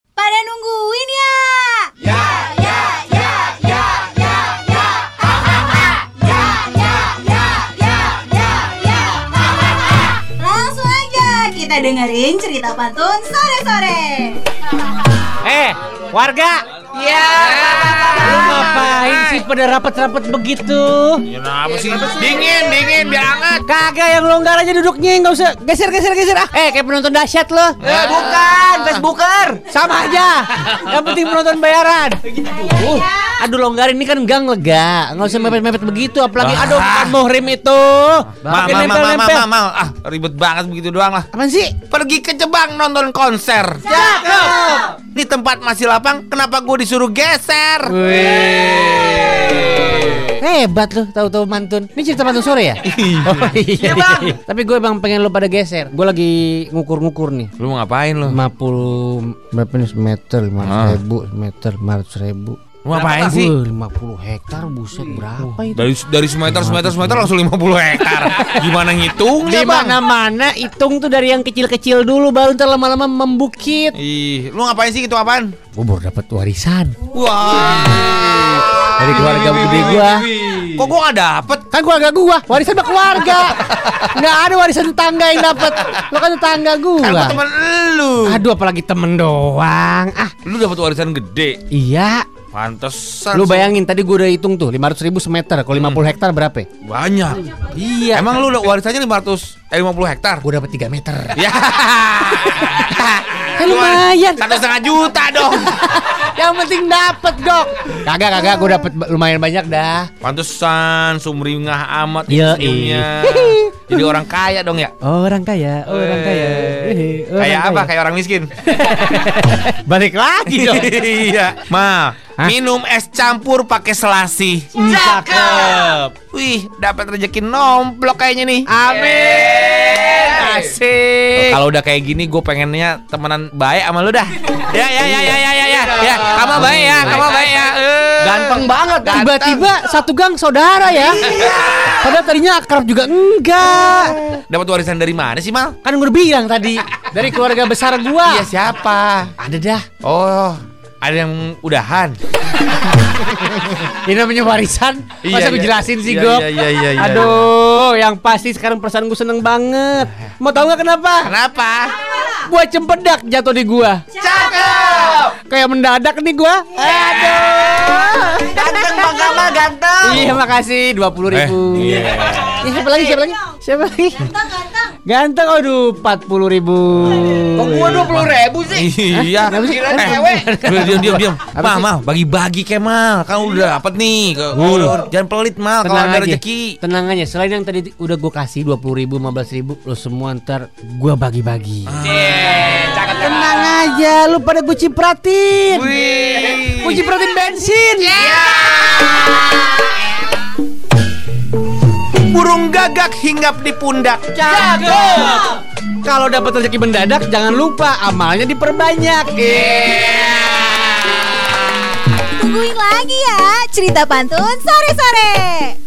ya. dengerin cerita pantun sore-sore. Eh, warga. Iya. Lu Ah. ngapain sih pada rapet-rapet begitu? Kenapa sih? Dingin, dingin, biar hangat. Kagak yang longgar aja duduknya, nggak usah geser geser geser ah. Eh, kayak penonton dahsyat lo. Eh, bukan, Facebooker. Sama aja. Yang penting penonton bayaran. Uh, aduh longgar ini kan gang lega, nggak usah mepet-mepet begitu. Apalagi aduh bukan muhrim itu. Mal, Makin mal, mal, mal, nempel-nempel. mal, mal. Ah, ribet banget begitu doang lah. Apaan sih? Pergi ke Jebang nonton konser. Cakep. Ini tempat masih lapang, kenapa gue disuruh geser? Hebat lu tahu-tahu mantun. Ini cerita mantun sore ya? Oh, iya. Tapi gue bang pengen lu pada geser. Gue lagi ngukur-ngukur nih. Lu mau ngapain lu? 50 berapa nih meter 500 Ah. ribu meter 500 ribu Lu ngapain sih? Wuh, 50 hektar buset berapa itu Dari dari semeter semeter semeter langsung 50 hektar. Gimana ngitungnya, di Bang? mana mana hitung tuh dari yang kecil-kecil dulu baru ntar lama-lama membukit Ih, lu ngapain sih itu apaan? gue baru dapat warisan Wah. dari keluarga gede gua Kok gua gak dapet? kan keluarga gua warisan sama keluarga nggak ada warisan tetangga yang dapat lo kan tetangga Kan gua gua temen lu. aduh apalagi temen doang ah Lu dapat warisan gede. iya Pantesan. lu sih. bayangin tadi gua udah hitung tuh 500 ribu semeter kalau 50 hektar berapa ya? banyak. Iya. Emang lu udah warisannya 500 eh 50 hektar? gua dapat 3 meter Ya. Ya, lumayan. Satu setengah juta dong. Yang penting dapet dok Kagak kagak gue dapet ba- lumayan banyak dah Pantesan sumringah amat Iya, senyumnya. iya. Jadi orang kaya dong ya. Orang kaya, orang kaya Iya, Kayak apa? Kayak orang miskin. Balik lagi dong iya. Ma, Hah? minum es campur pakai selasi. Cakep. Wih, dapat rezeki nomplok kayaknya nih. Amin. Asik. Kalau udah kayak gini gue pengennya temenan baik sama lu dah. ya ya ya ya ya ya ya. Ya, kamu baik ya, kamu baik ya. Eh. Ganteng banget Ganteng. Tiba-tiba satu gang saudara ya Padahal tadinya akrab juga Enggak Dapat warisan dari mana sih, Mal? Kan gue udah bilang tadi Dari keluarga besar gua Iya, siapa? Ada dah Oh, ada yang udahan. Ini namanya warisan Iya, Masa gue iya. jelasin sih Iya, gue iya, iya, iya, iya. Aduh Yang pasti sekarang perasaan gue seneng banget Mau tau gak kenapa? Kenapa? Gua cempedak jatuh di gua Cakep. Kayak mendadak nih gua Aduh Ganteng Bang Kamal, ganteng. Iya makasih 20 ribu Eh, iya. Ya, Siapa lagi siapa lagi Siapa lagi Ganteng-ganteng. Ganteng aduh 40 ribu Kok puluh ribu sih? Iya. Kenapa sih? Eh, Cewek. udah, diam diam diam. Apa Mal sih? mal bagi-bagi ke mal. Kan udah dapet nih. Ke- udah, Jangan pelit mal kalau ada rezeki. Tenang aja Selain yang tadi udah gue kasih 20 ribu 15 ribu Lo semua ntar gue bagi-bagi Ah. Tenang aja Lu pada gue cipratin Wih. Gue cipratin bensin Burung gagak hinggap di pundak. Cakep. Kalau dapat rezeki mendadak Jangan lupa amalnya diperbanyak Tungguin lagi ya cerita pantun sore-sore.